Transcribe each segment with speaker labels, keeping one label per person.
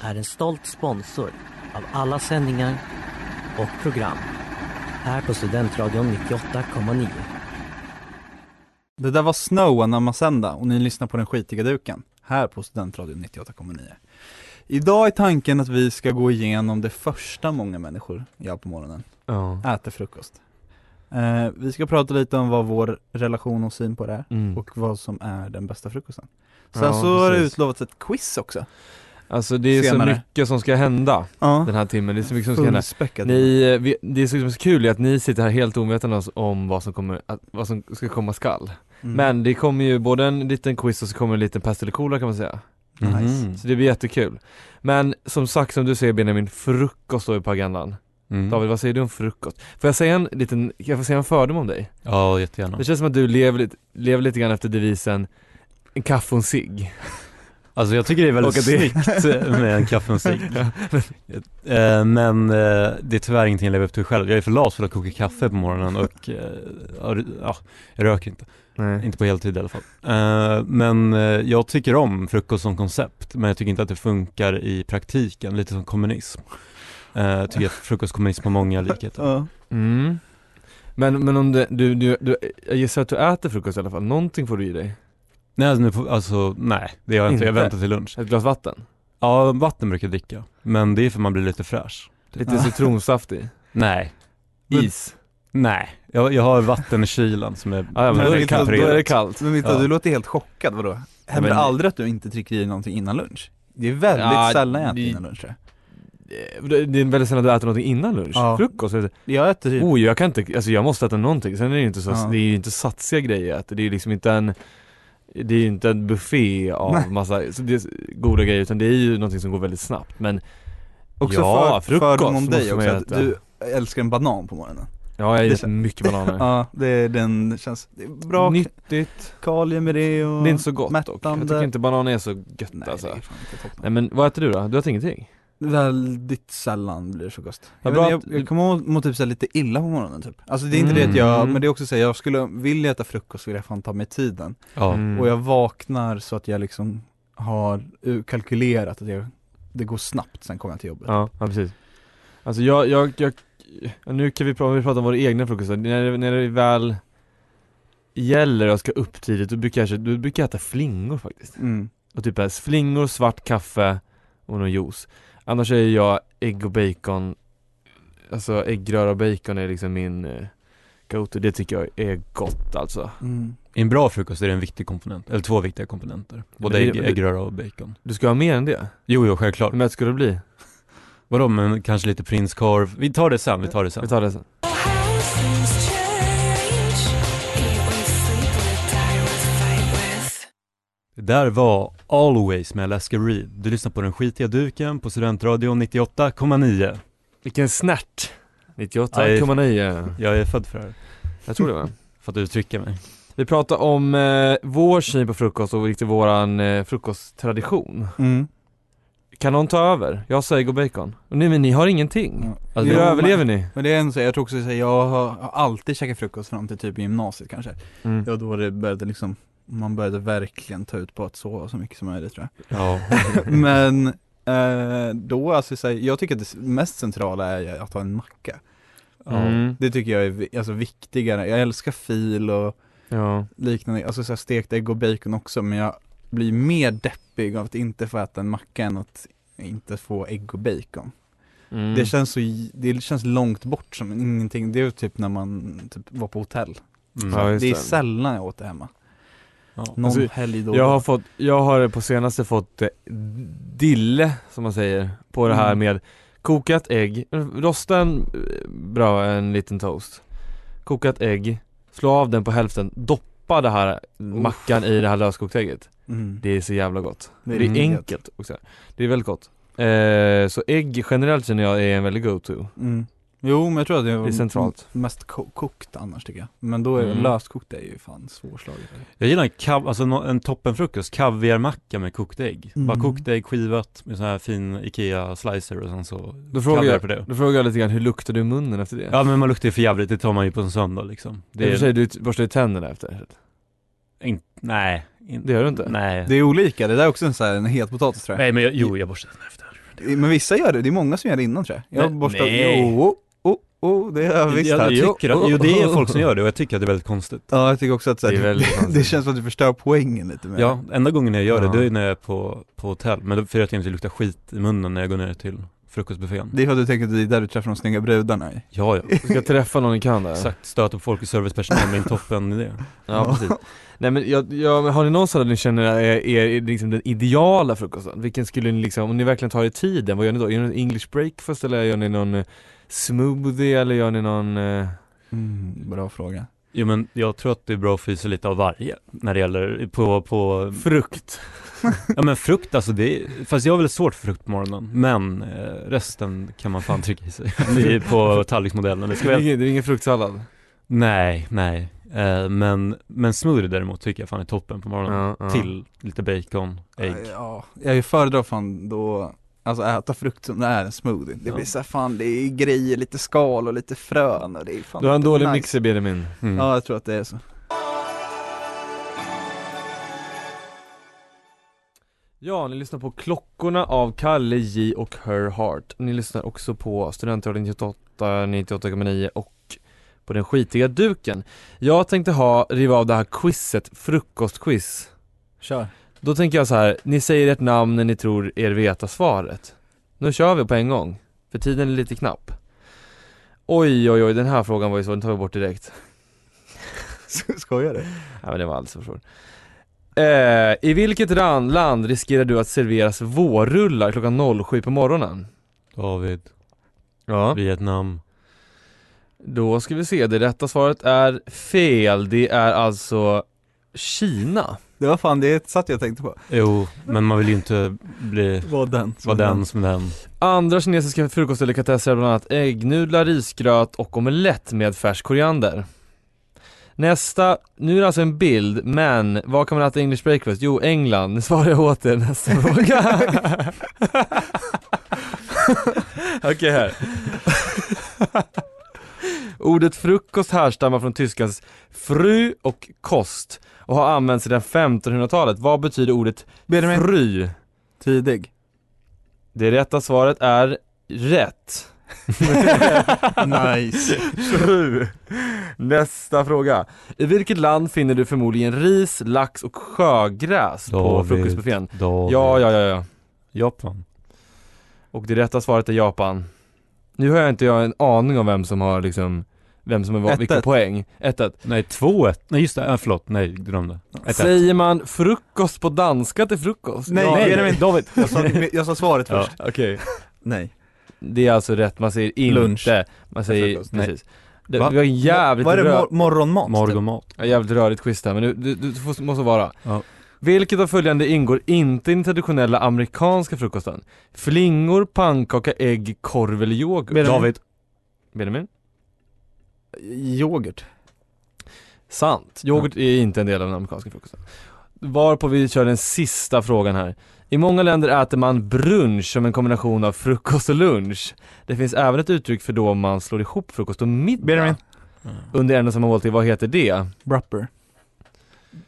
Speaker 1: är en stolt sponsor av alla sändningar och program här på Studentradion 98,9.
Speaker 2: Det där var Snow Anamasenda och ni lyssnar på den skitiga duken här på Studentradion 98,9. Idag är tanken att vi ska gå igenom det första många människor gör på morgonen,
Speaker 3: Ja.
Speaker 2: äter frukost. Eh, vi ska prata lite om vad vår relation och syn på det är
Speaker 3: Mm.
Speaker 2: och vad som är den bästa frukosten. Sen
Speaker 3: Ja,
Speaker 2: så har det
Speaker 3: precis.
Speaker 2: utlovats ett quiz också.
Speaker 3: Alltså det är
Speaker 2: Senare.
Speaker 3: så mycket som ska hända
Speaker 2: Ja,
Speaker 3: den här timmen, det är så mycket som ska hända
Speaker 2: fullspäckad.
Speaker 3: ni, eh, vi- det som är så kul är att ni sitter här helt ovetande om vad som, kommer, att, vad som ska komma skall
Speaker 2: Mm.
Speaker 3: Men det kommer ju både en liten quiz och så kommer en liten pest eller kolera kan man säga
Speaker 2: Nice.
Speaker 3: Så det blir jättekul Men som sagt, som du säger Benjamin, frukost står ju på agendan
Speaker 4: Mm.
Speaker 3: David, vad säger du om frukost? Får jag säga en liten, jag får säga en fördom om dig?
Speaker 4: Ja, jättegärna.
Speaker 3: Det känns som att du lever lite, lever lite grann efter devisen en kaffe och en cigg
Speaker 4: Alltså jag tycker det är väldigt
Speaker 3: Och att det-
Speaker 4: snyggt med en kaffemusik. Men eh, det är tyvärr ingenting jag lever upp till själv. Jag är för lat för att koka kaffe på morgonen och eh, ja, det- ja, jag röker inte.
Speaker 3: Nej.
Speaker 4: Inte på heltid i alla fall. Eh, Men eh, jag tycker om frukost som koncept, men jag tycker inte att det funkar i praktiken, lite som kommunism. Eh, Jag tycker att frukostkommunism har många likheter.
Speaker 2: Ja.
Speaker 3: Mm. Men, men om det, du, du, du, jag gissar att du äter frukost i alla fall, någonting får du i dig
Speaker 4: Nej, alltså, nu får, alltså nej, det gör jag inte. Jag
Speaker 3: Inte?
Speaker 4: väntar till lunch.
Speaker 3: Ett glas vatten?
Speaker 4: Ja, vatten brukar jag dricka, men det är för man blir lite fräsch.
Speaker 3: Lite citronsaft i?
Speaker 4: Nej, Men-
Speaker 3: Is?
Speaker 4: Nej, jag, jag har vatten i kylen som är
Speaker 3: Ja, ja, men
Speaker 2: Men
Speaker 3: då, är
Speaker 2: det
Speaker 3: det
Speaker 2: är kallt.
Speaker 3: kallt, då är det kallt
Speaker 2: Men Mita,
Speaker 4: Ja.
Speaker 2: du låter helt chockad, vadå? Händer
Speaker 4: men-
Speaker 2: det aldrig att du inte dricker i någonting innan lunch? Det är väldigt
Speaker 3: Ja,
Speaker 2: sällan jag äter
Speaker 3: det-
Speaker 2: innan lunch tror
Speaker 3: Eh, Det det är väldigt sällan att du äter någonting innan lunch,
Speaker 2: Ja.
Speaker 3: frukost eller-
Speaker 2: jag. Jag äter typ,
Speaker 3: Oj, jag kan inte, alltså jag måste äta någonting, sen är det ju inte så,
Speaker 2: Ja.
Speaker 3: det är ju inte satsiga grejer jag äter, det är ju liksom inte en det är ju inte en buffé av
Speaker 2: Nej.
Speaker 3: massa så det är goda grejer utan det är ju någonting som går väldigt snabbt men
Speaker 2: också
Speaker 3: ja,
Speaker 2: för, fördom om
Speaker 3: frukost
Speaker 2: dig
Speaker 3: måste
Speaker 2: också,
Speaker 3: man ju
Speaker 2: att
Speaker 3: äta.
Speaker 2: du älskar en banan på morgonen.
Speaker 3: ja jag
Speaker 2: Det
Speaker 3: äter
Speaker 2: kän-
Speaker 3: mycket bananer
Speaker 2: Ja, det är den, det känns, det är bra
Speaker 3: Nyttigt,
Speaker 2: kalium i det och
Speaker 3: det är inte så gott dock, jag
Speaker 2: mättande.
Speaker 3: tycker inte banan är så gött
Speaker 2: Nej,
Speaker 3: alltså
Speaker 2: det är fan inte toppen.
Speaker 3: Nej men vad äter du då? Du äter ingenting?
Speaker 2: Väldigt sällan blir det frukost. Jag,
Speaker 3: Vad
Speaker 2: vet,
Speaker 3: bra
Speaker 2: jag,
Speaker 3: att-
Speaker 2: jag kommer att må typ så här lite illa på morgonen typ. Alltså det är inte det
Speaker 3: Mm.
Speaker 2: att jag, men det är också så här, jag skulle, vill jag äta frukost vill jag fan ta mig tiden.
Speaker 4: ja.
Speaker 3: Mm.
Speaker 2: Och jag vaknar så att jag liksom har u- kalkylerat att jag, det går snabbt sen kommer jag till jobbet.
Speaker 3: Ja, ja precis Alltså jag, jag, jag ja, nu kan vi prata, vi pratar om våra egna frukostar, när, det- när det väl gäller och jag ska upp tidigt, då brukar jag, kö- då brukar jag äta flingor faktiskt
Speaker 2: Mm.
Speaker 3: Och typ här, flingor, svart kaffe och någon juice Annars är jag ägg och bacon, alltså äggröra och bacon är liksom min eh, go-to, det tycker jag är gott alltså
Speaker 2: Mm.
Speaker 4: I en bra frukost är det en viktig komponent, eller två viktiga komponenter. Både
Speaker 3: Men
Speaker 4: ägg,
Speaker 3: det-
Speaker 4: äggröra och bacon.
Speaker 3: Du ska ha mer än det?
Speaker 4: Jo, jo, självklart.
Speaker 3: Hur mycket ska det bli?
Speaker 4: Vadå, men kanske lite prinskorv. Vi tar det sen, vi tar det sen.
Speaker 3: Vi tar det sen
Speaker 4: Det där var Always med Alaska Reed. Du lyssnar på den skitiga duken på Studentradion 98,9.
Speaker 3: Vilken snärt!
Speaker 4: Aj.
Speaker 3: 98,9
Speaker 4: Jag är född för det här,
Speaker 3: Jag tror det va?
Speaker 4: för att uttrycka mig.
Speaker 3: Vi pratar om eh, vår syn på frukost och riktigt våran eh, frukosttradition
Speaker 2: Mm.
Speaker 3: Kan någon ta över? Jag säger och bacon Och Nej men ni har ingenting
Speaker 2: Ja.
Speaker 3: Hur
Speaker 2: Mm. Jo, men-
Speaker 3: överlever ni?
Speaker 2: Men det är en så, jag tror också att jag har, har alltid käkat frukost fram till typ gymnasiet kanske.
Speaker 3: Mm.
Speaker 2: Det var då det började liksom, man började verkligen ta ut på att sova så mycket som möjligt tror jag.
Speaker 4: Ja.
Speaker 2: Men eh, då alltså så här, jag tycker att det mest centrala är ju att ha en macka.
Speaker 3: Mm.
Speaker 2: Det tycker jag är vi- alltså, viktigare, jag älskar fil och
Speaker 3: Ja,
Speaker 2: liknande, alltså så här, stekt ägg och bacon också men jag blir mer deppig av att inte få äta en macka än att inte få ägg och bacon.
Speaker 3: mm.
Speaker 2: Det känns så, j- det känns långt bort som ingenting, det är ju typ när man typ var på hotell
Speaker 4: Mm.
Speaker 3: Ja, just
Speaker 2: Det är
Speaker 3: det.
Speaker 2: sällan jag åt det hemma
Speaker 4: Ja.
Speaker 2: Någon
Speaker 3: Alltså,
Speaker 2: helg då
Speaker 3: Jag har fått, jag har på senaste fått eh, dille, som man säger, på det här
Speaker 2: Mm.
Speaker 3: med kokat ägg, rosta en eh, bra, en liten toast Kokat ägg, slå av den på hälften, doppa det här mackan i det här löskokt ägget
Speaker 2: mm.
Speaker 3: Det är så jävla gott
Speaker 2: Det
Speaker 3: Det
Speaker 2: är
Speaker 3: är,
Speaker 2: riktigt gött.
Speaker 3: enkelt också, det är väldigt gott eh, Så ägg generellt känner jag är en väldigt go-to
Speaker 2: Mm. Jo men jag tror att det
Speaker 3: Det är centralt.
Speaker 2: m- mest ko- kokt annars tycker jag Men då är
Speaker 3: Mm.
Speaker 2: löskokt är ju fan svårslaget
Speaker 4: Jag gillar en, kav, alltså no- en toppenfrukost, kaviarmacka med kokt ägg.
Speaker 2: Mm.
Speaker 4: Bara kokt ägg skivat med sån här fin IKEA-slicer och sen så
Speaker 3: Då frågar
Speaker 4: kaviar
Speaker 3: jag-
Speaker 4: på det.
Speaker 3: Då frågar jag lite grann, hur luktar du i munnen efter det?
Speaker 4: Ja men man luktar ju för jävligt, det tar man ju på en söndag liksom.
Speaker 3: det är... I och för sig, du borstar ju tänderna efter
Speaker 4: in, nej. In,
Speaker 3: Det gör du inte?
Speaker 4: Nej.
Speaker 2: Det är olika, det där är också en, så här, en het potatis tror jag
Speaker 4: nej men jag, jo jag borstar den efter.
Speaker 2: Men vissa gör det, det är många som gör det innan tror jag Jag
Speaker 4: Nej.
Speaker 2: borstar,
Speaker 4: Nej.
Speaker 2: jo, oh, oh, det gör jag visst
Speaker 4: jag,
Speaker 2: här.
Speaker 4: jag tycker att, jo det är folk som gör det och jag tycker att det är väldigt konstigt.
Speaker 2: Ja jag tycker också att så här,
Speaker 3: Det är väldigt
Speaker 2: det, det
Speaker 3: konstigt.
Speaker 2: känns som att du förstör poängen lite mer
Speaker 4: Ja, enda gången jag gör det,
Speaker 3: Ja.
Speaker 4: det är när jag är på, på hotell. Men då för att jag inte luktar skit i munnen när jag går ner till frukostbuffén.
Speaker 2: Det är för att du tänker att det är där du träffar de snygga brudarna ju.
Speaker 4: Ja, ja.
Speaker 3: Du ska träffa någon i Kanada?
Speaker 4: Exakt, stöter på folk i servicepersonal med en toppen idé.
Speaker 3: Ja precis. Nej men jag, jag, men har ni någon sån där ni känner är, är liksom den ideala frukosten? Vilken skulle ni liksom, om ni verkligen tar er tiden, vad gör ni då? Gör ni en English breakfast eller gör ni någon eh, smoothie eller gör ni någon eh,
Speaker 2: Mm, bra fråga
Speaker 4: Jo men jag tror att det är bra att få i sig lite av varje när det gäller på, på
Speaker 3: frukt?
Speaker 4: Ja men frukt alltså det är, fast jag har väldigt svårt för frukt på morgonen Men eh, resten kan man fan trycka i sig Det är på tallriksmodellen, det ska
Speaker 3: Det är
Speaker 4: väl
Speaker 3: ingen, det är ingen fruktsallad?
Speaker 4: Nej, nej eh, men, men smoothie däremot tycker jag fan är toppen på morgonen
Speaker 3: Ja, ja.
Speaker 4: Till lite bacon, ägg
Speaker 2: Ja, jag föredrar fan då, alltså äta frukt som det är en smoothie Det
Speaker 4: Ja.
Speaker 2: blir så här, fan det är grejer, lite skal och lite frön och det är fan
Speaker 3: Du har en
Speaker 2: inte
Speaker 3: dålig
Speaker 2: nice.
Speaker 3: mixer Benjamin.
Speaker 4: mm.
Speaker 2: Ja jag tror att det är så
Speaker 3: Ja, ni lyssnar på Klockorna av Kalle J och Her Heart. Ni lyssnar också på Studentradion 98, 98,9 och på den skitiga duken. Jag tänkte ha, riva av det här quizet, frukostquiz.
Speaker 2: Kör
Speaker 3: Då tänker jag så här, ni säger ert namn när ni tror er veta svaret. Nu kör vi på en gång, för tiden är lite knapp. Oj, oj, oj, den här frågan var ju så, den tar vi bort direkt.
Speaker 2: Skojar du?
Speaker 3: Ja men det var alls för svårt. Eh, I vilket ran- land riskerar du att serveras vårrullar klockan 07 på morgonen?
Speaker 4: David,
Speaker 3: Ja.
Speaker 4: Vietnam
Speaker 3: Då ska vi se, det rätta svaret är fel. Det är alltså Kina.
Speaker 2: Det var fan det satt jag tänkte på
Speaker 4: Jo, men man vill ju inte bli,
Speaker 2: Var den
Speaker 4: vara den som den
Speaker 3: Andra kinesiska frukostdelikatesser är bland annat äggnudlar, risgröt och omelett med färsk koriander. Nästa, nu är det alltså en bild, men vad kan man äta i English breakfast? Jo, England. Nu svarar jag åt er nästa fråga. Okej, här. Ordet frukost härstammar från tyskans fru och kost och har använts sedan 1500-talet. Vad betyder ordet
Speaker 2: Benjamin,
Speaker 3: fry?
Speaker 2: tidig
Speaker 3: Det rätta svaret är rätt.
Speaker 2: Nice
Speaker 3: Sju. Nästa fråga. I vilket land finner du förmodligen ris, lax och sjögräs på
Speaker 4: David.
Speaker 3: frukostbuffén?
Speaker 4: David,
Speaker 3: Ja, ja, ja, ja.
Speaker 4: Japan
Speaker 3: Och det rätta svaret är Japan. Nu har jag inte jag en aning om vem som har liksom, vem som är vad,
Speaker 2: Ett,
Speaker 3: vilka
Speaker 2: ett.
Speaker 3: poäng. 1-1.
Speaker 4: Nej, 2-1, nej just det, äh, förlåt, nej du glömde Ett, ett.
Speaker 3: Säger man frukost på danska till frukost?
Speaker 2: Nej,
Speaker 3: Ja,
Speaker 2: Benjamin.
Speaker 4: David
Speaker 2: jag sa, jag sa svaret
Speaker 4: Ja.
Speaker 2: först
Speaker 3: Okej.
Speaker 2: Nej
Speaker 3: Det är alltså rätt, man säger inte.
Speaker 2: Lunch.
Speaker 3: Man säger,
Speaker 2: Frukost. Nej.
Speaker 3: precis. Det,
Speaker 4: Va?
Speaker 3: det var en jävligt
Speaker 2: Vad är det,
Speaker 3: rö-
Speaker 2: mor- morgonmat? typ?
Speaker 4: Morgonmat
Speaker 3: Ja, jävligt rörigt quiz där, men du, du, du får, måste vara.
Speaker 4: Ja.
Speaker 3: Vilket av följande ingår inte i den traditionella amerikanska frukosten? Flingor, pannkaka, ägg, korv eller yoghurt?
Speaker 2: Benjamin.
Speaker 3: David. Benjamin?
Speaker 2: Yoghurt
Speaker 3: Sant. Yoghurt är inte en del av den amerikanska frukosten. Varpå vi kör den sista frågan här. I många länder äter man brunch som en kombination av frukost och lunch. Det finns även ett uttryck för då man slår ihop frukost och middag. Mm.
Speaker 2: Benjamin.
Speaker 3: Under en och samma måltid, vad heter det?
Speaker 2: Brupper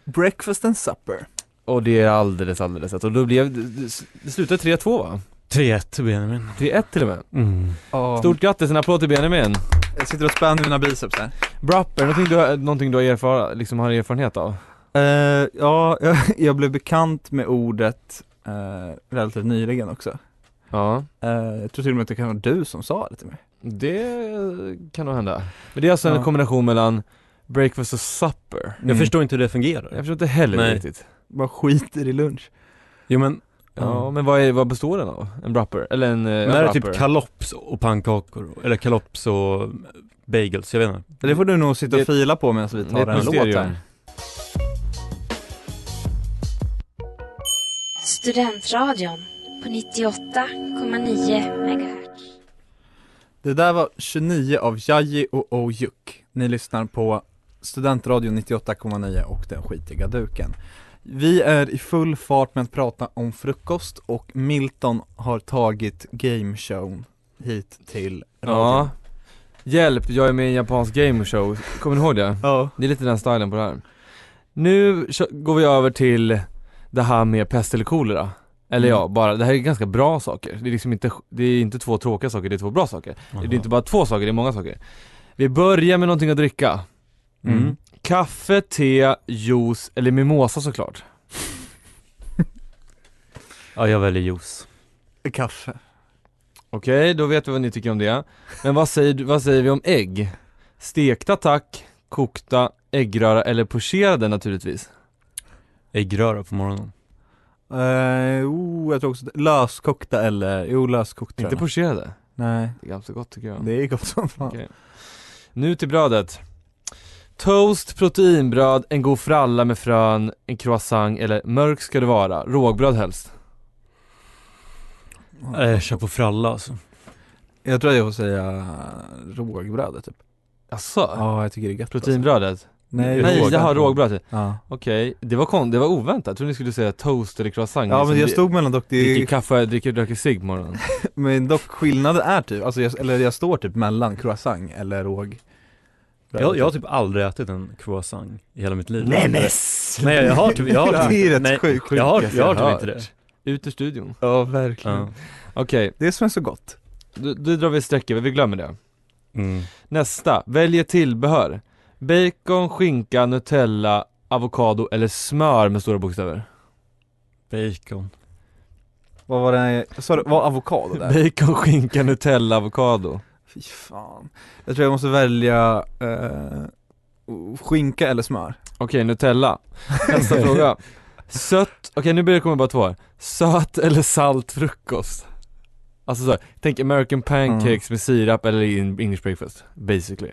Speaker 2: Breakfast and supper
Speaker 3: Och det är alldeles, alldeles rätt. Och då blev det, det- det slutade 3-2 va?
Speaker 4: 3-1 Benjamin
Speaker 3: 3-1 till och med.
Speaker 4: mm.
Speaker 3: Stort grattis, en applåd till Benjamin.
Speaker 2: Jag sitter och spänner mina biceps här
Speaker 3: Brapper, någonting du, har- någonting du har, erfara, liksom har erfarenhet av?
Speaker 2: Eh, ja, jag, jag blev bekant med ordet eh, relativt nyligen också.
Speaker 3: Ja,
Speaker 2: Eh, jag tror till och med att det kan vara du som sa det till mig.
Speaker 3: det kan nog hända. Men det är alltså
Speaker 2: Ja.
Speaker 3: en kombination mellan breakfast och supper.
Speaker 4: Jag förstår inte hur det fungerar.
Speaker 3: Jag förstår inte heller
Speaker 4: Mm. Nej.
Speaker 3: riktigt.
Speaker 2: Bara skiter i lunch.
Speaker 4: Jo men,
Speaker 3: Ja,
Speaker 4: Ja.
Speaker 3: men vad, är, vad består den av? En wrapper? Eller en... eh,
Speaker 4: men det här är
Speaker 3: wrapper?
Speaker 4: typ kalops och pannkakor, eller kalops och bagels, jag vet inte.
Speaker 2: Det får du nog sitta och
Speaker 3: Det-
Speaker 2: fila på medan vi
Speaker 3: Det är
Speaker 2: tar
Speaker 3: ett
Speaker 2: en låt
Speaker 3: mysterium.
Speaker 2: här.
Speaker 5: Studentradion på 98,9 MHz.
Speaker 2: Det där var 29 av Jaji och Ojuk. Ni lyssnar på Studentradion 98,9 och Den skitiga duken. Vi är i full fart med att prata om frukost och Milton har tagit gameshowen hit till
Speaker 3: Ja.
Speaker 2: radion.
Speaker 3: Hjälp, jag är med i en japansk game show. Kommer ni ihåg det?
Speaker 2: Ja.
Speaker 3: Det är lite den här stilen på det här. Nu kö- går vi över till det här med pest eller kolera. Eller ja, bara, det här är ganska bra saker. Det är liksom inte, det är inte två tråkiga saker, det är två bra saker. Det är inte bara två saker, det är många saker. Vi börjar med någonting att dricka.
Speaker 4: Mm.
Speaker 3: Kaffe, te, juice eller mimosa såklart.
Speaker 4: Ja, jag väljer juice.
Speaker 2: Kaffe.
Speaker 3: Okej, då vet vi vad ni tycker om det. Men vad säger, du- vad säger vi om ägg? Stekta tack, kokta, äggröra eller pocherade naturligtvis.
Speaker 4: Äggröra på morgonen.
Speaker 2: Eh, oh, jag tror också löskokta eller, jo löskokt tror
Speaker 3: Inte
Speaker 2: jag.
Speaker 3: pocherade.
Speaker 2: Nej,
Speaker 3: Det är ganska gott tycker jag.
Speaker 2: det är gott som fan.
Speaker 3: Okej. Nu till brödet. Toast, proteinbröd, en god fralla med frön, en croissant eller mörk ska det vara, rågbröd helst.
Speaker 4: Nej, jag kör på fralla alltså.
Speaker 2: Jag tror jag får säga rågbrödet typ.
Speaker 3: Alltså,
Speaker 2: Ja, jag tycker det är gött alltså.
Speaker 3: proteinbrödet?
Speaker 2: Nej,
Speaker 3: Nej,
Speaker 2: råg.
Speaker 3: jag har rågbröd.
Speaker 2: Ja.
Speaker 3: Okej, det var kon- det var oväntat. Jag trodde ni skulle säga toast eller croissant.
Speaker 2: Ja men
Speaker 3: Liksom,
Speaker 2: jag
Speaker 3: vi-
Speaker 2: stod mellan dock, det
Speaker 3: Dricker kaffe, dricker, dricker cigg på morgonen.
Speaker 2: Men dock skillnaden är typ, alltså jag, eller jag står typ mellan croissant eller råg
Speaker 4: Jag, jag har typ aldrig ätit en croissant i hela mitt liv.
Speaker 2: Nej
Speaker 4: Nej jag har typ, jag har typ
Speaker 2: Det är rätt
Speaker 4: nej,
Speaker 2: sjukt.
Speaker 4: Jag har, jag har typ
Speaker 3: Sjukaste
Speaker 4: inte
Speaker 3: jag
Speaker 4: det.
Speaker 3: Ut ur studion.
Speaker 2: Ja verkligen
Speaker 4: Ja.
Speaker 3: Okej,
Speaker 2: Det är som är så gott
Speaker 3: då, då drar vi ett streck över, vi glömmer det.
Speaker 4: Mm.
Speaker 3: Nästa, välj ett tillbehör. Bacon, skinka, nutella, avokado eller smör med stora bokstäver.
Speaker 4: Bacon.
Speaker 2: Vad var det, sa du, var avokado där?
Speaker 3: Bacon, skinka, nutella, avokado.
Speaker 2: Fy fan Jag tror jag måste välja eh, skinka eller smör
Speaker 3: Okej, Nutella. Nästa fråga. Sött, okej nu börjar det komma bara två här. Söt eller salt frukost? Alltså så här, tänk American pancakes
Speaker 2: Mm.
Speaker 3: med sirap eller in- English breakfast, basically.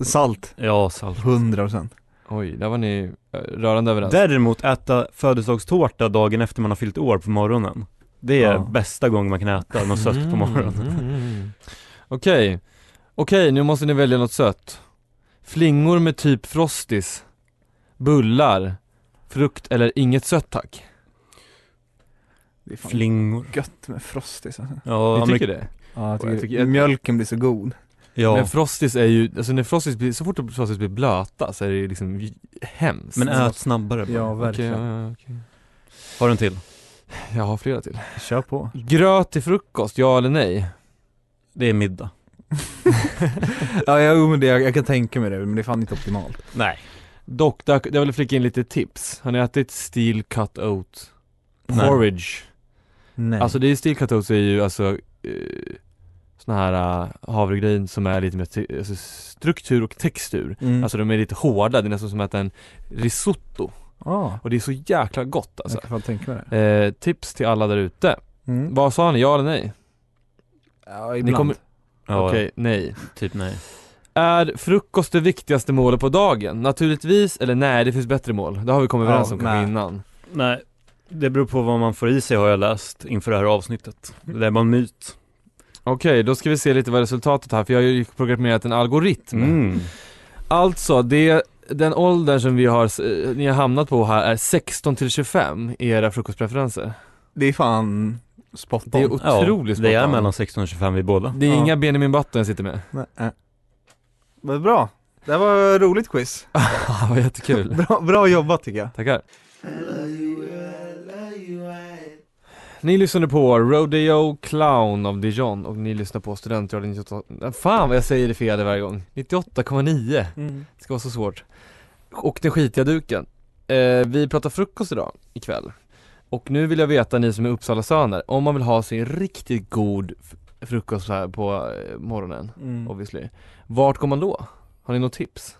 Speaker 2: Salt
Speaker 4: Ja, salt.
Speaker 2: 100%
Speaker 3: Oj, där var ni eh, rörande överens.
Speaker 4: Däremot äta födelsedagstårta dagen efter man har fyllt år på morgonen. Det är
Speaker 2: Ja.
Speaker 4: bästa gången man kan äta något sött på morgonen.
Speaker 3: Mm, mm, mm. Okej, okej nu måste ni välja något sött. Flingor med typ frostis, bullar, frukt eller inget sött tack.
Speaker 2: Det är fan
Speaker 4: Flingor.
Speaker 2: gött med frostis alltså.
Speaker 4: Ja,
Speaker 3: Ni
Speaker 4: amerik-
Speaker 3: tycker det?
Speaker 2: Ja jag tycker,
Speaker 3: Jag tycker-
Speaker 2: mjölken blir så god
Speaker 4: ja.
Speaker 3: Men frostis är ju, alltså när frostis blir, så fort frostis blir blöta så är det ju liksom j- hemskt
Speaker 4: men
Speaker 3: Okej,
Speaker 4: ät snabbare bara.
Speaker 2: Ja verkligen
Speaker 3: ja, ja, okej.
Speaker 4: Har du en till?
Speaker 3: Jag har flera till
Speaker 2: Kör på
Speaker 3: Gröt till frukost, ja eller nej?
Speaker 4: Det är middag.
Speaker 2: Ja jag, jo, men det, jag, jag kan tänka mig det, men det är fan inte optimalt
Speaker 4: Nej.
Speaker 3: Dock, där, jag vill flika in lite tips Har ni ätit steel cut oat
Speaker 4: Nej.
Speaker 3: porridge?
Speaker 2: Nej
Speaker 3: Alltså det är steel cut oats är ju alltså eh, såna här eh, havregryn som är lite mer te- alltså, struktur och textur
Speaker 2: mm.
Speaker 3: Alltså de är lite hårda, det är nästan som att äta en risotto
Speaker 2: ah,
Speaker 3: Och det är så jäkla gott alltså
Speaker 2: jag kan fan tänka mig det
Speaker 3: eh, Tips till alla där ute
Speaker 2: Mm.
Speaker 3: Vad sa ni, ja eller nej?
Speaker 2: Ja,
Speaker 3: Ni
Speaker 2: ibland.
Speaker 3: kommer-
Speaker 4: Ja,
Speaker 3: Okej, nej.
Speaker 4: typ nej.
Speaker 3: Är frukost det viktigaste målet på dagen? Naturligtvis, eller nej, det finns bättre mål. Det har vi kommit
Speaker 2: Ja,
Speaker 3: överens om kanske
Speaker 2: nej.
Speaker 3: innan.
Speaker 4: Nej, det beror på vad man får i sig har jag läst inför det här avsnittet. Det där var en myt.
Speaker 3: Okej, då ska vi se lite vad resultatet här, för jag har ju programmerat en algoritm.
Speaker 2: Mm.
Speaker 4: Mm.
Speaker 3: Alltså, det, den åldern som vi har, eh, ni har hamnat på här är 16 till 25 i era frukostpreferenser.
Speaker 2: Det är fan spot on.
Speaker 3: Det är otroligt
Speaker 4: Det är
Speaker 3: spontant.
Speaker 4: mellan 16 och 25 vi båda.
Speaker 3: Det är
Speaker 2: Ja.
Speaker 3: inga Benjamin Button jag sitter med.
Speaker 2: Nej, äh. Vad bra. Det här var ett roligt quiz.
Speaker 3: Vad jättekul.
Speaker 2: Bra, bra jobbat tycker jag.
Speaker 3: Tackar. Ni lyssnade på Rodeo Clown av Dijon och ni lyssnar på Studentradion 98 Fan vad jag säger det fel varje gång 98,9
Speaker 2: Mm.
Speaker 3: Det ska vara så svårt Och den skitiga duken eh, Vi pratar frukost idag, ikväll Och nu vill jag veta ni som är Uppsala söner Om man vill ha sin riktigt god f-
Speaker 2: Mm.
Speaker 3: Mm. frukost så här på eh, morgonen obviously Vart går man då? Har ni något tips?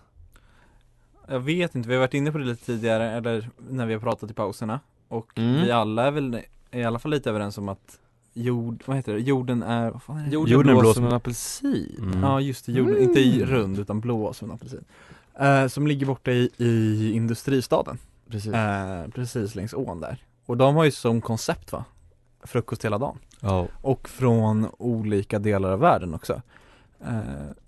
Speaker 2: Jag vet inte, vi har varit inne på det lite tidigare eller när vi har pratat i pauserna Och
Speaker 3: Mm.
Speaker 2: vi alla är väl i alla fall lite överens om att jord, vad heter det, jorden är, vad fan är det?
Speaker 3: Jorden, Mm.
Speaker 4: Jorden
Speaker 3: blå
Speaker 4: blå
Speaker 3: som
Speaker 4: som-
Speaker 3: en apelsin.
Speaker 4: Mm.
Speaker 2: Ja just det, jorden, inte i rund utan blå som en apelsin eh, Som ligger borta i, i industristaden,
Speaker 3: Precis.
Speaker 2: eh, precis längs ån där Och de har ju som koncept va? Frukost hela dagen
Speaker 4: Ja.
Speaker 2: Och från olika delar av världen också eh,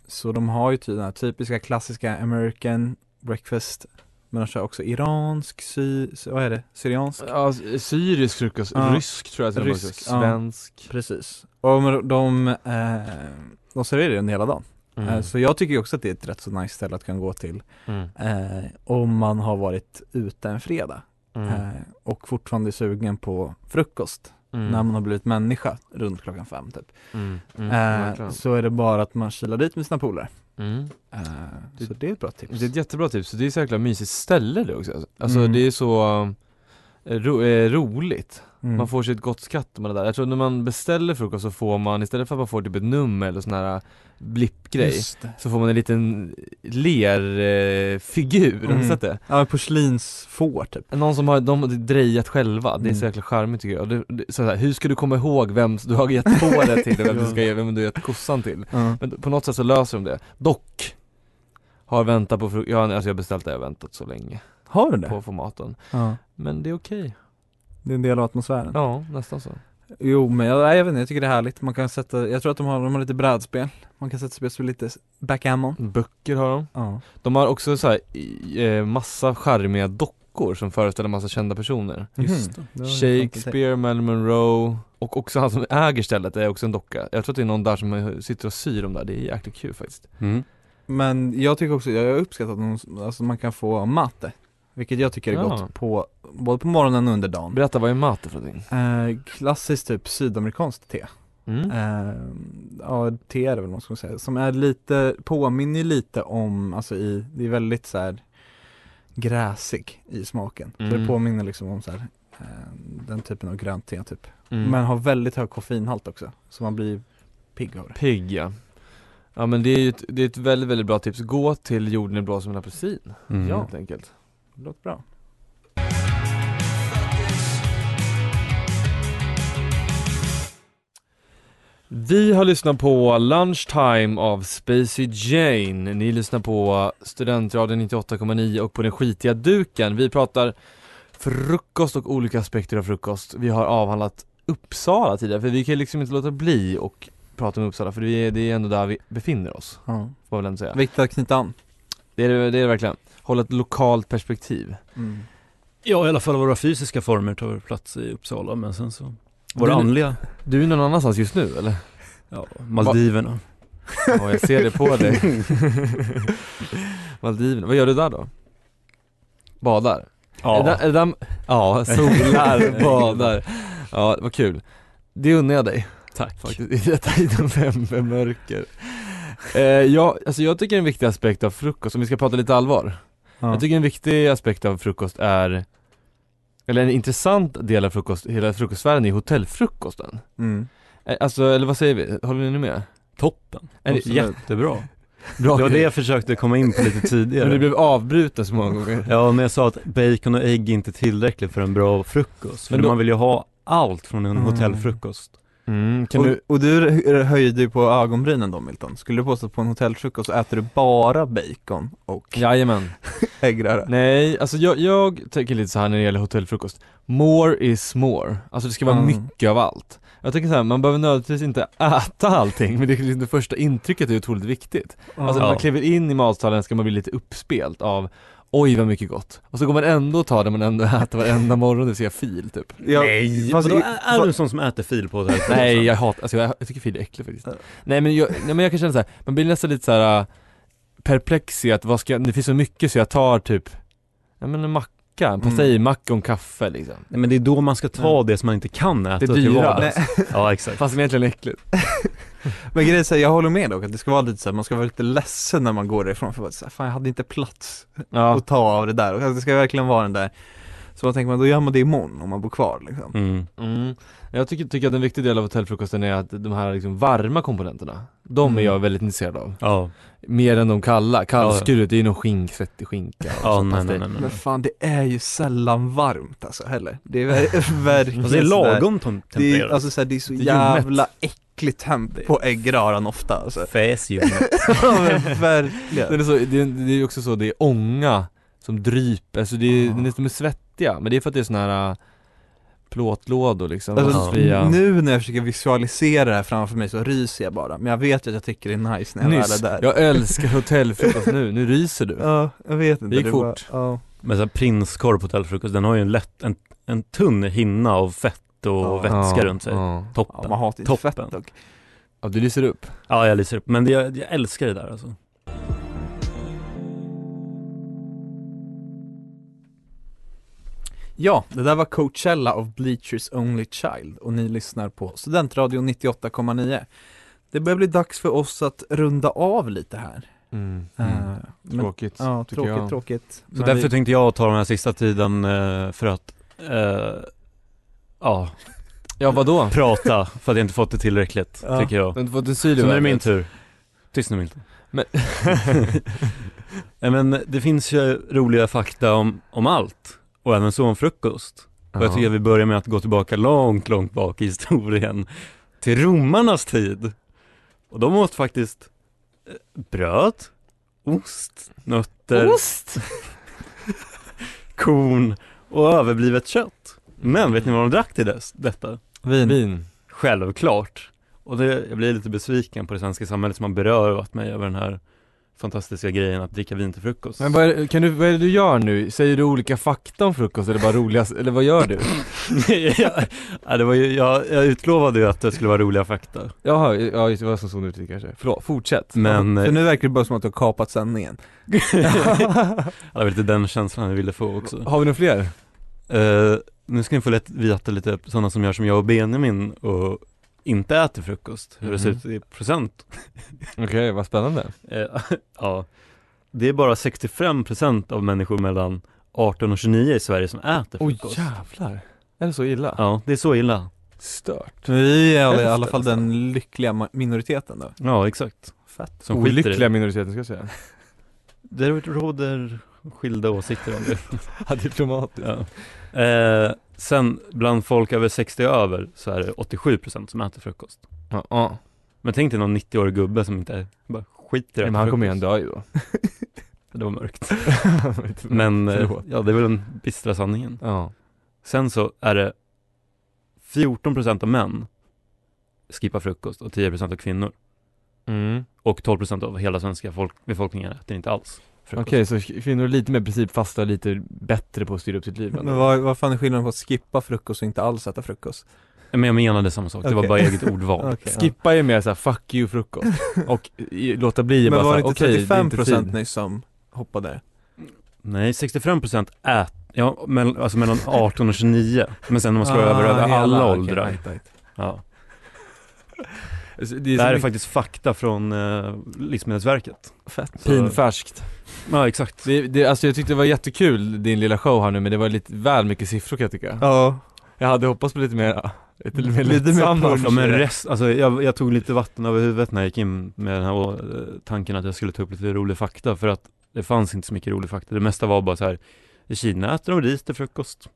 Speaker 2: Så de har ju ty- den här typiska klassiska American breakfast Men de kör också iransk, sy, sy- vad är det? Syriansk?
Speaker 3: Ja, s- syrisk frukost,
Speaker 2: Ja.
Speaker 3: rysk tror jag till och med också.
Speaker 2: Rysk, ja.
Speaker 3: Svensk.
Speaker 2: Precis Och men de, eh, de serverar den hela dagen eh, Så jag tycker ju också att det är ett rätt så nice ställe att kunna gå till
Speaker 3: Mm.
Speaker 2: eh, Om man har varit ute en fredag
Speaker 3: Mm.
Speaker 2: eh, Och fortfarande är sugen på frukost
Speaker 3: Mm.
Speaker 2: När man har blivit människa runt klockan fem typ
Speaker 3: Mm. Mm.
Speaker 2: eh,
Speaker 3: verkligen.
Speaker 2: Så är det bara att man kilar dit med sina polare
Speaker 3: Mm.
Speaker 2: Eh, Så det är ett bra tips.
Speaker 3: Det är ett jättebra tips, det är så jäkla mysigt ställe det också Alltså
Speaker 2: Mm.
Speaker 3: det är så eh, ro, eh, roligt,
Speaker 2: Mm.
Speaker 3: man får sig ett gott skratt när man är där Jag tror när man beställer frukost så får man, istället för att man får typ ett nummer eller sån här blippgrej
Speaker 2: Just det.
Speaker 3: Så får man en liten lerfigur, eh, figur, har ni
Speaker 2: Mm.
Speaker 3: sett det?
Speaker 2: Ja, porslinsfår typ.
Speaker 3: Någon som har, de har drejat själva, det är så
Speaker 2: Mm.
Speaker 3: jäkla charmigt tycker jag Och det, det, så här, Hur ska du komma ihåg vem du har gett fåret till och vem du
Speaker 2: Ja.
Speaker 3: ska ge, vem du har gett kossan till?
Speaker 2: Ja.
Speaker 3: Men på något sätt så löser de det, dock Har väntat på frukost, ja, alltså jag har beställt det, jag har väntat så länge
Speaker 2: Har du
Speaker 3: på
Speaker 2: det?
Speaker 3: att få maten.
Speaker 2: Ja.
Speaker 3: Men det är okej.
Speaker 2: Det är en del av atmosfären.
Speaker 3: Ja, nästan så.
Speaker 2: Jo men jag, nej, jag vet inte, jag tycker det är härligt. Man kan sätta, jag tror att de har, de har lite brädspel. Man kan sätta sig och spela lite backgammon.
Speaker 3: Böcker har de.
Speaker 2: Ja.
Speaker 3: De har också så här, i- eh, massa charmiga dockor som föreställer massa kända personer.
Speaker 2: Just Mhm. det. var
Speaker 3: Shakespeare, Marilyn Monroe och också han som äger stället är också en docka. Jag tror att det är någon där som eh, sitter och syr dem där, det är jäkligt kul faktiskt.
Speaker 4: Mm.
Speaker 2: Men jag tycker också, jag uppskattar att de, alltså man kan få matte. Vilket jag tycker är
Speaker 3: Ja.
Speaker 2: gott på, både på morgonen och under dagen.
Speaker 3: Berätta, vad är mate för någonting?
Speaker 2: Eh, klassiskt typ sydamerikanskt te.
Speaker 3: Mm.
Speaker 2: Eh, ja, te är det väl man ska säga, som är lite, påminner lite om, alltså i, det är väldigt så här gräsig i smaken. Så
Speaker 3: Mm.
Speaker 2: det påminner liksom om så här, eh, den typen av grönt te typ.
Speaker 3: Mm.
Speaker 2: Men har väldigt hög koffeinhalt också, så man blir pigg av det.
Speaker 3: Pigg ja. Ja men det är ju ett, det är ett väldigt, väldigt bra tips. Gå till jorden är blå som en apelsin,
Speaker 4: Mm.
Speaker 3: ja.
Speaker 4: Ja.
Speaker 3: helt enkelt.
Speaker 2: Det låter bra.
Speaker 3: Vi har lyssnat på Lunchtime av Spacey Jane. Ni lyssnar på Studentradion 98,9 och på den skitiga duken. Vi pratar frukost och olika aspekter av frukost. Vi har avhandlat Uppsala tidigare, för vi kan liksom inte låta bli och prata om Uppsala, för det är, det är ändå där vi befinner oss,
Speaker 2: Ja.
Speaker 3: får man väl ändå säga.
Speaker 2: Viktigt att knyta an.
Speaker 3: Det är det, det är det verkligen. Hålla ett lokalt perspektiv.
Speaker 2: Mm.
Speaker 6: Ja, i alla fall våra fysiska former tar plats i Uppsala, men sen så... Våra
Speaker 3: Du-
Speaker 6: andliga,
Speaker 3: Du är någon annanstans just nu eller?
Speaker 6: ja, Maldiverna.
Speaker 3: Ja, jag ser det på dig. Maldiverna, vad gör du där då? Badar? Är det,
Speaker 6: Ja,
Speaker 3: där- är det där, ja, solar, badar. Ja, vad kul. Det unnar jag dig
Speaker 6: tack.
Speaker 3: faktiskt, i detta i november mörker. Eh, ja, alltså jag tycker en viktig aspekt av frukost, om vi ska prata lite allvar.
Speaker 2: Ja.
Speaker 3: Jag tycker en viktig aspekt av frukost är, eller en intressant del av frukost, hela frukostsfären är hotellfrukosten.
Speaker 2: Mm.
Speaker 3: Eh, Alltså, eller vad säger vi? Håller ni med?
Speaker 6: Toppen.
Speaker 3: Är det, ja,
Speaker 4: Jättebra.
Speaker 3: bra
Speaker 4: Det var
Speaker 3: kul.
Speaker 4: det jag försökte komma in på lite tidigare.
Speaker 3: Men du blev avbruten så många gånger.
Speaker 4: Ja, men jag sa att bacon och ägg är inte tillräckligt för en bra frukost. För
Speaker 3: Men då-
Speaker 4: man vill ju ha allt från en
Speaker 2: Mm.
Speaker 4: hotellfrukost.
Speaker 3: Mm, kan
Speaker 2: och,
Speaker 3: du,
Speaker 2: och du hö- höjde ju på ögonbrynen då Milton. Skulle du påstå att på en hotellfrukost så äter du bara bacon och
Speaker 3: jajamän.
Speaker 2: äggröra?
Speaker 3: Nej, alltså jag, jag tänker lite så här när det gäller hotellfrukost. More is more. Alltså det ska vara
Speaker 2: Mm.
Speaker 3: mycket av allt. Jag tänker så här, man behöver nödvändigtvis inte äta allting, men det, är liksom det första intrycket är otroligt viktigt. Alltså när man
Speaker 4: Ja.
Speaker 3: kliver in i matsalen ska man bli lite uppspelt av Oj vad mycket gott. Och så går man ändå och tar det man ändå äter varenda morgon, det ser jag fil typ.
Speaker 2: Ja,
Speaker 4: Nej!
Speaker 2: fast
Speaker 4: Vadå,
Speaker 2: i-
Speaker 4: är, är du en sån som äter fil på hotellfrukosten?
Speaker 3: Nej jag hatar, alltså jag, jag tycker fil är äckligt faktiskt.
Speaker 2: Ja.
Speaker 3: Nej men jag, nej, men jag kan känna så här, man blir nästan lite så här äh, perplex i att vad ska jag, det finns så mycket så jag tar typ, ja men en macka, en
Speaker 2: Mm.
Speaker 3: pastejmacka och en kaffe liksom.
Speaker 4: Nej, men det är då man ska ta det som man inte kan äta
Speaker 3: Det
Speaker 4: till
Speaker 3: dyra.
Speaker 4: vardags. Ja, exakt.
Speaker 3: Fast det är egentligen äckligt.
Speaker 2: Men grejen är så här, jag håller med dock att det ska vara lite så här, man ska vara lite ledsen när man går därifrån för att så här, fan jag hade inte plats
Speaker 3: Ja.
Speaker 2: att ta av det där och alltså, det ska verkligen vara den där Så vad tänker man, då gör man det imorgon om man bor kvar liksom
Speaker 4: Mm.
Speaker 3: Mm. Jag tycker, tycker att en viktig del av hotellfrukosten är att de här liksom varma komponenterna, de är
Speaker 2: Mm.
Speaker 3: jag väldigt intresserad av.
Speaker 4: Ja,
Speaker 3: Mer än de kalla,
Speaker 4: Ja,
Speaker 3: kallskuret, det är ju någon skink, fettig skinka och
Speaker 4: ja
Speaker 3: sånt
Speaker 4: nej,
Speaker 3: pastej.
Speaker 4: nej, nej, nej.
Speaker 2: Men fan det är ju sällan varmt alltså heller Det är ver- verkligen
Speaker 6: Fast det är
Speaker 2: sådär-
Speaker 6: lagom tem-
Speaker 2: Det är,
Speaker 6: tempererat.
Speaker 2: alltså, såhär, det är så
Speaker 3: Det är
Speaker 2: jävla
Speaker 3: ljummet.
Speaker 2: äcklig temp på äggröran ofta alltså
Speaker 6: Fäs ju.
Speaker 2: Ja, men verkligen
Speaker 3: Den är så, det, är, det är också så, det är ånga som dryper, alltså det är,
Speaker 2: Ah.
Speaker 3: den är, de är svettiga, men det är för att det är såna här äh, plåtlådor liksom,
Speaker 2: Alltså,
Speaker 3: rostfria.
Speaker 2: Nu när jag försöker visualisera det här framför mig så ryser jag bara, men jag vet att jag tycker det är nice när jag väl är
Speaker 3: Nyss,
Speaker 2: där
Speaker 3: jag älskar hotellfrukost nu, nu ryser du.
Speaker 2: Ja, jag vet inte
Speaker 3: Det gick
Speaker 2: var-
Speaker 3: fort.
Speaker 2: ja.
Speaker 4: Men så här prinskorv på hotellfrukost, den har ju en lätt, en, en tunn hinna av fett och
Speaker 2: Ja.
Speaker 4: vätska
Speaker 3: Ja,
Speaker 4: runt sig.
Speaker 3: Ja,
Speaker 2: ja,
Speaker 4: Toppen.
Speaker 2: man hatar inte
Speaker 4: Toppen.
Speaker 2: fett dock
Speaker 3: ja du lyser upp.
Speaker 4: Ja, jag lyser upp. Men det, jag, jag älskar det där alltså.
Speaker 2: Ja, det där var Coachella av Bleachers Only Child och ni lyssnar på Studentradion 98,9 Det börjar bli dags för oss att runda av lite här
Speaker 3: Mm.
Speaker 2: Eh, men,
Speaker 3: Tråkigt.
Speaker 2: Ja,
Speaker 3: tycker
Speaker 2: tråkigt,
Speaker 3: jag.
Speaker 2: tråkigt
Speaker 4: Så
Speaker 2: Men
Speaker 4: därför
Speaker 2: vi-
Speaker 4: tänkte jag ta den här sista tiden eh, för att, eh, ja,
Speaker 3: Ja vadå?
Speaker 4: prata för att jag inte fått det tillräckligt,
Speaker 2: Ja.
Speaker 4: tycker jag.
Speaker 3: Du har inte fått en syl i
Speaker 4: Så nu är det
Speaker 3: världen.
Speaker 4: min tur. Tyst nu Milton.
Speaker 3: Men-
Speaker 4: Nej men det finns ju roliga fakta om, om allt, och även så om frukost. Och jag tycker vi börjar med att gå tillbaka långt, långt bak i historien till romarnas tid. Och de åt faktiskt eh, bröd, ost, nötter,
Speaker 3: Ost!
Speaker 4: korn och överblivet kött. Men vet ni vad de drack till dess, detta?
Speaker 3: Vin. Vin.
Speaker 4: Självklart. Och det, jag blir lite besviken på det svenska samhället som har berövat mig över den här fantastiska grejen att dricka vin till frukost.
Speaker 3: Men vad är, det- kan du, vad är det du gör nu? Säger du olika fakta om frukost eller bara roligast, eller vad gör du?
Speaker 4: ja, ja, det var ju, jag, jag utlovade ju att det skulle vara roliga fakta.
Speaker 3: Jaha, ja just det, det var som såg ut kanske. Förlåt, fortsätt.
Speaker 4: Men
Speaker 2: För nu verkar det bara som att du har kapat sändningen
Speaker 4: Ja, det var lite den känslan jag ville få också.
Speaker 3: Har vi några fler?
Speaker 4: Eh, nu ska ni få lätt veta lite sådana som gör som jag och Benjamin och inte äter frukost, hur det ser
Speaker 3: Mhm.
Speaker 4: ut i procent.
Speaker 3: Okej, vad spännande.
Speaker 4: Eh, ja. Det är bara 65% av människor mellan 18 och 29 i Sverige som äter
Speaker 3: Oj
Speaker 4: frukost.
Speaker 3: jävlar. Är det så illa?
Speaker 4: ja, det är så illa.
Speaker 3: Stört.
Speaker 2: Men vi är i alla
Speaker 3: Hälften,
Speaker 2: fall den lyckliga ma- minoriteten då
Speaker 4: Ja, exakt.
Speaker 2: Fett
Speaker 4: Som skiter i
Speaker 3: Olyckliga
Speaker 4: det.
Speaker 3: minoriteten ska jag säga.
Speaker 4: Det råder skilda åsikter om det.
Speaker 3: Ja, diplomatiskt.
Speaker 4: Ja. Eh, sen bland folk över 60 och över så är det 87% som äter frukost.
Speaker 3: Ja, ja.
Speaker 4: Men tänk dig någon 90-årig gubbe som inte bara skiter i
Speaker 3: Men
Speaker 4: att
Speaker 3: han
Speaker 4: äta
Speaker 3: kommer ju en
Speaker 4: frukost.
Speaker 3: dag ju då.
Speaker 4: Det var mörkt. Men
Speaker 3: Men,
Speaker 4: eh,
Speaker 3: Förlåt.
Speaker 4: ja, det är väl den bistra sanningen.
Speaker 3: ja.
Speaker 4: Sen så är det 14% av män skippar frukost och 10% av kvinnor.
Speaker 3: Mm.
Speaker 4: Och 12% av hela svenska folk- befolkningen äter inte alls frukost.
Speaker 3: Okej, så kvinnor är lite mer principfasta och lite bättre på att styra upp sitt liv.
Speaker 2: Men vad, vad fan är skillnaden på att skippa frukost och inte alls äta frukost?
Speaker 4: Men jag menade samma sak, det var
Speaker 2: Okej.
Speaker 4: bara eget ordval.
Speaker 2: Okej, ja.
Speaker 3: Skippa är mer såhär 'fuck you frukost' och i, låta bli är
Speaker 2: Men
Speaker 3: bara
Speaker 2: var det
Speaker 3: såhär,
Speaker 2: inte
Speaker 3: okej det är
Speaker 2: 35%
Speaker 3: inte tid.
Speaker 2: nyss som hoppade?
Speaker 4: Nej, 65% ät, ja, mell- alltså mellan 18 och 29. Men sen när man slår över över
Speaker 2: Ah, hela,
Speaker 4: alla
Speaker 2: okej,
Speaker 4: åldrar.
Speaker 2: right, right.
Speaker 4: Ja.
Speaker 3: Alltså,
Speaker 4: Det,
Speaker 3: det
Speaker 4: här
Speaker 3: är, så
Speaker 4: är
Speaker 3: mycket
Speaker 4: faktiskt fakta från eh, Livsmedelsverket.
Speaker 2: Fett.
Speaker 3: pinfärskt.
Speaker 4: Ja, exakt.
Speaker 3: Det, det, alltså jag tyckte det var jättekul, din lilla show här nu, men det var lite väl mycket siffror kan jag tycka.
Speaker 2: Ja,
Speaker 3: Jag hade hoppats på lite mer, lite
Speaker 4: Mm.
Speaker 3: mer
Speaker 2: Lite mer
Speaker 3: lättsamma.
Speaker 2: punch.
Speaker 4: Ja men rest, alltså jag, jag tog lite vatten över huvudet när jag gick in med den här eh, tanken att jag skulle ta upp lite rolig fakta för att det fanns inte så mycket rolig fakta. Det mesta var bara så här, i Kina äter de ris till frukost.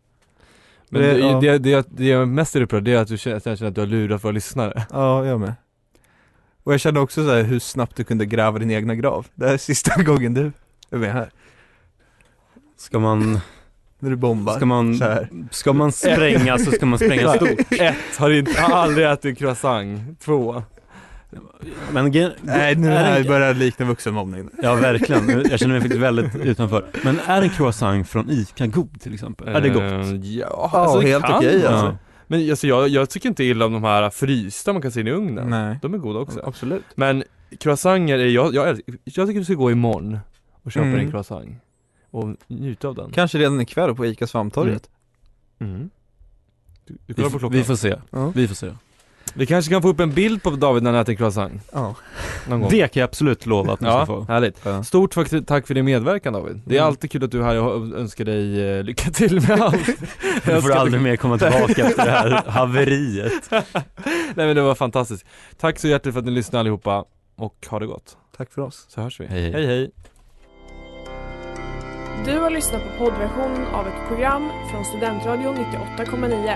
Speaker 3: Men
Speaker 2: Det-
Speaker 3: det,
Speaker 2: ja.
Speaker 3: det, det, jag- det jag mest är upprörd det är att du känner, att jag känner att du har lurat våra lyssnare.
Speaker 2: ja jag med Och jag kände också så här hur snabbt du kunde gräva din egna grav Det här är sista gången du är med här,
Speaker 4: Ska man,
Speaker 2: när du bombar
Speaker 4: ska man,
Speaker 2: så här.
Speaker 4: ska man spränga så ska man spränga stort.
Speaker 3: Ett, har, inte, har aldrig ätit croissant. Två.
Speaker 4: Men gen-
Speaker 2: Nej nu
Speaker 4: är
Speaker 2: här
Speaker 4: en-
Speaker 2: börjar det likna vuxenmobbning
Speaker 4: Ja verkligen, jag känner mig faktiskt väldigt utanför. Men är en croissant från ICA god till exempel? Är det gott?
Speaker 3: Eh, Ja,
Speaker 2: Ja,
Speaker 3: alltså, det
Speaker 2: helt
Speaker 3: kan
Speaker 2: okej,
Speaker 3: vara.
Speaker 2: alltså.
Speaker 3: Men alltså, jag, jag tycker inte illa om de här frysta man kan se in i ugnen.
Speaker 2: Nej,
Speaker 3: De är goda också.
Speaker 2: absolut
Speaker 3: Men croissanter är, jag, jag, älsk- jag tycker du ska gå imorgon och köpa
Speaker 2: Mm.
Speaker 3: en croissant. Och njuta av den.
Speaker 2: Kanske redan ikväll på ICA Svamptorget
Speaker 3: Mm. Du, du
Speaker 4: Vi,
Speaker 3: kollar på
Speaker 4: f-
Speaker 3: klockan. Mm.
Speaker 4: vi får se,
Speaker 2: Ja.
Speaker 4: vi får se.
Speaker 3: Vi kanske kan få upp en bild på David när han äter croissant
Speaker 2: Ja.
Speaker 3: någon gång.
Speaker 4: Det kan jag absolut lova att ni ska
Speaker 3: Ja,
Speaker 4: få.
Speaker 3: härligt.
Speaker 2: Ja.
Speaker 3: Stort tack- tack för din medverkan David. Det är
Speaker 4: Mm.
Speaker 3: alltid kul att du är här, jag önskar dig eh, lycka till med allt.
Speaker 4: Du får aldrig mer komma tillbaka efter det här haveriet.
Speaker 3: Nej men det var fantastiskt. Tack så hjärtligt för att ni lyssnade allihopa och ha det gott.
Speaker 2: Tack för oss.
Speaker 3: Så hörs vi.
Speaker 4: Hej, hej.
Speaker 3: hej. hej.
Speaker 7: Du har lyssnat på poddversionen av ett program från Studentradion 98,9.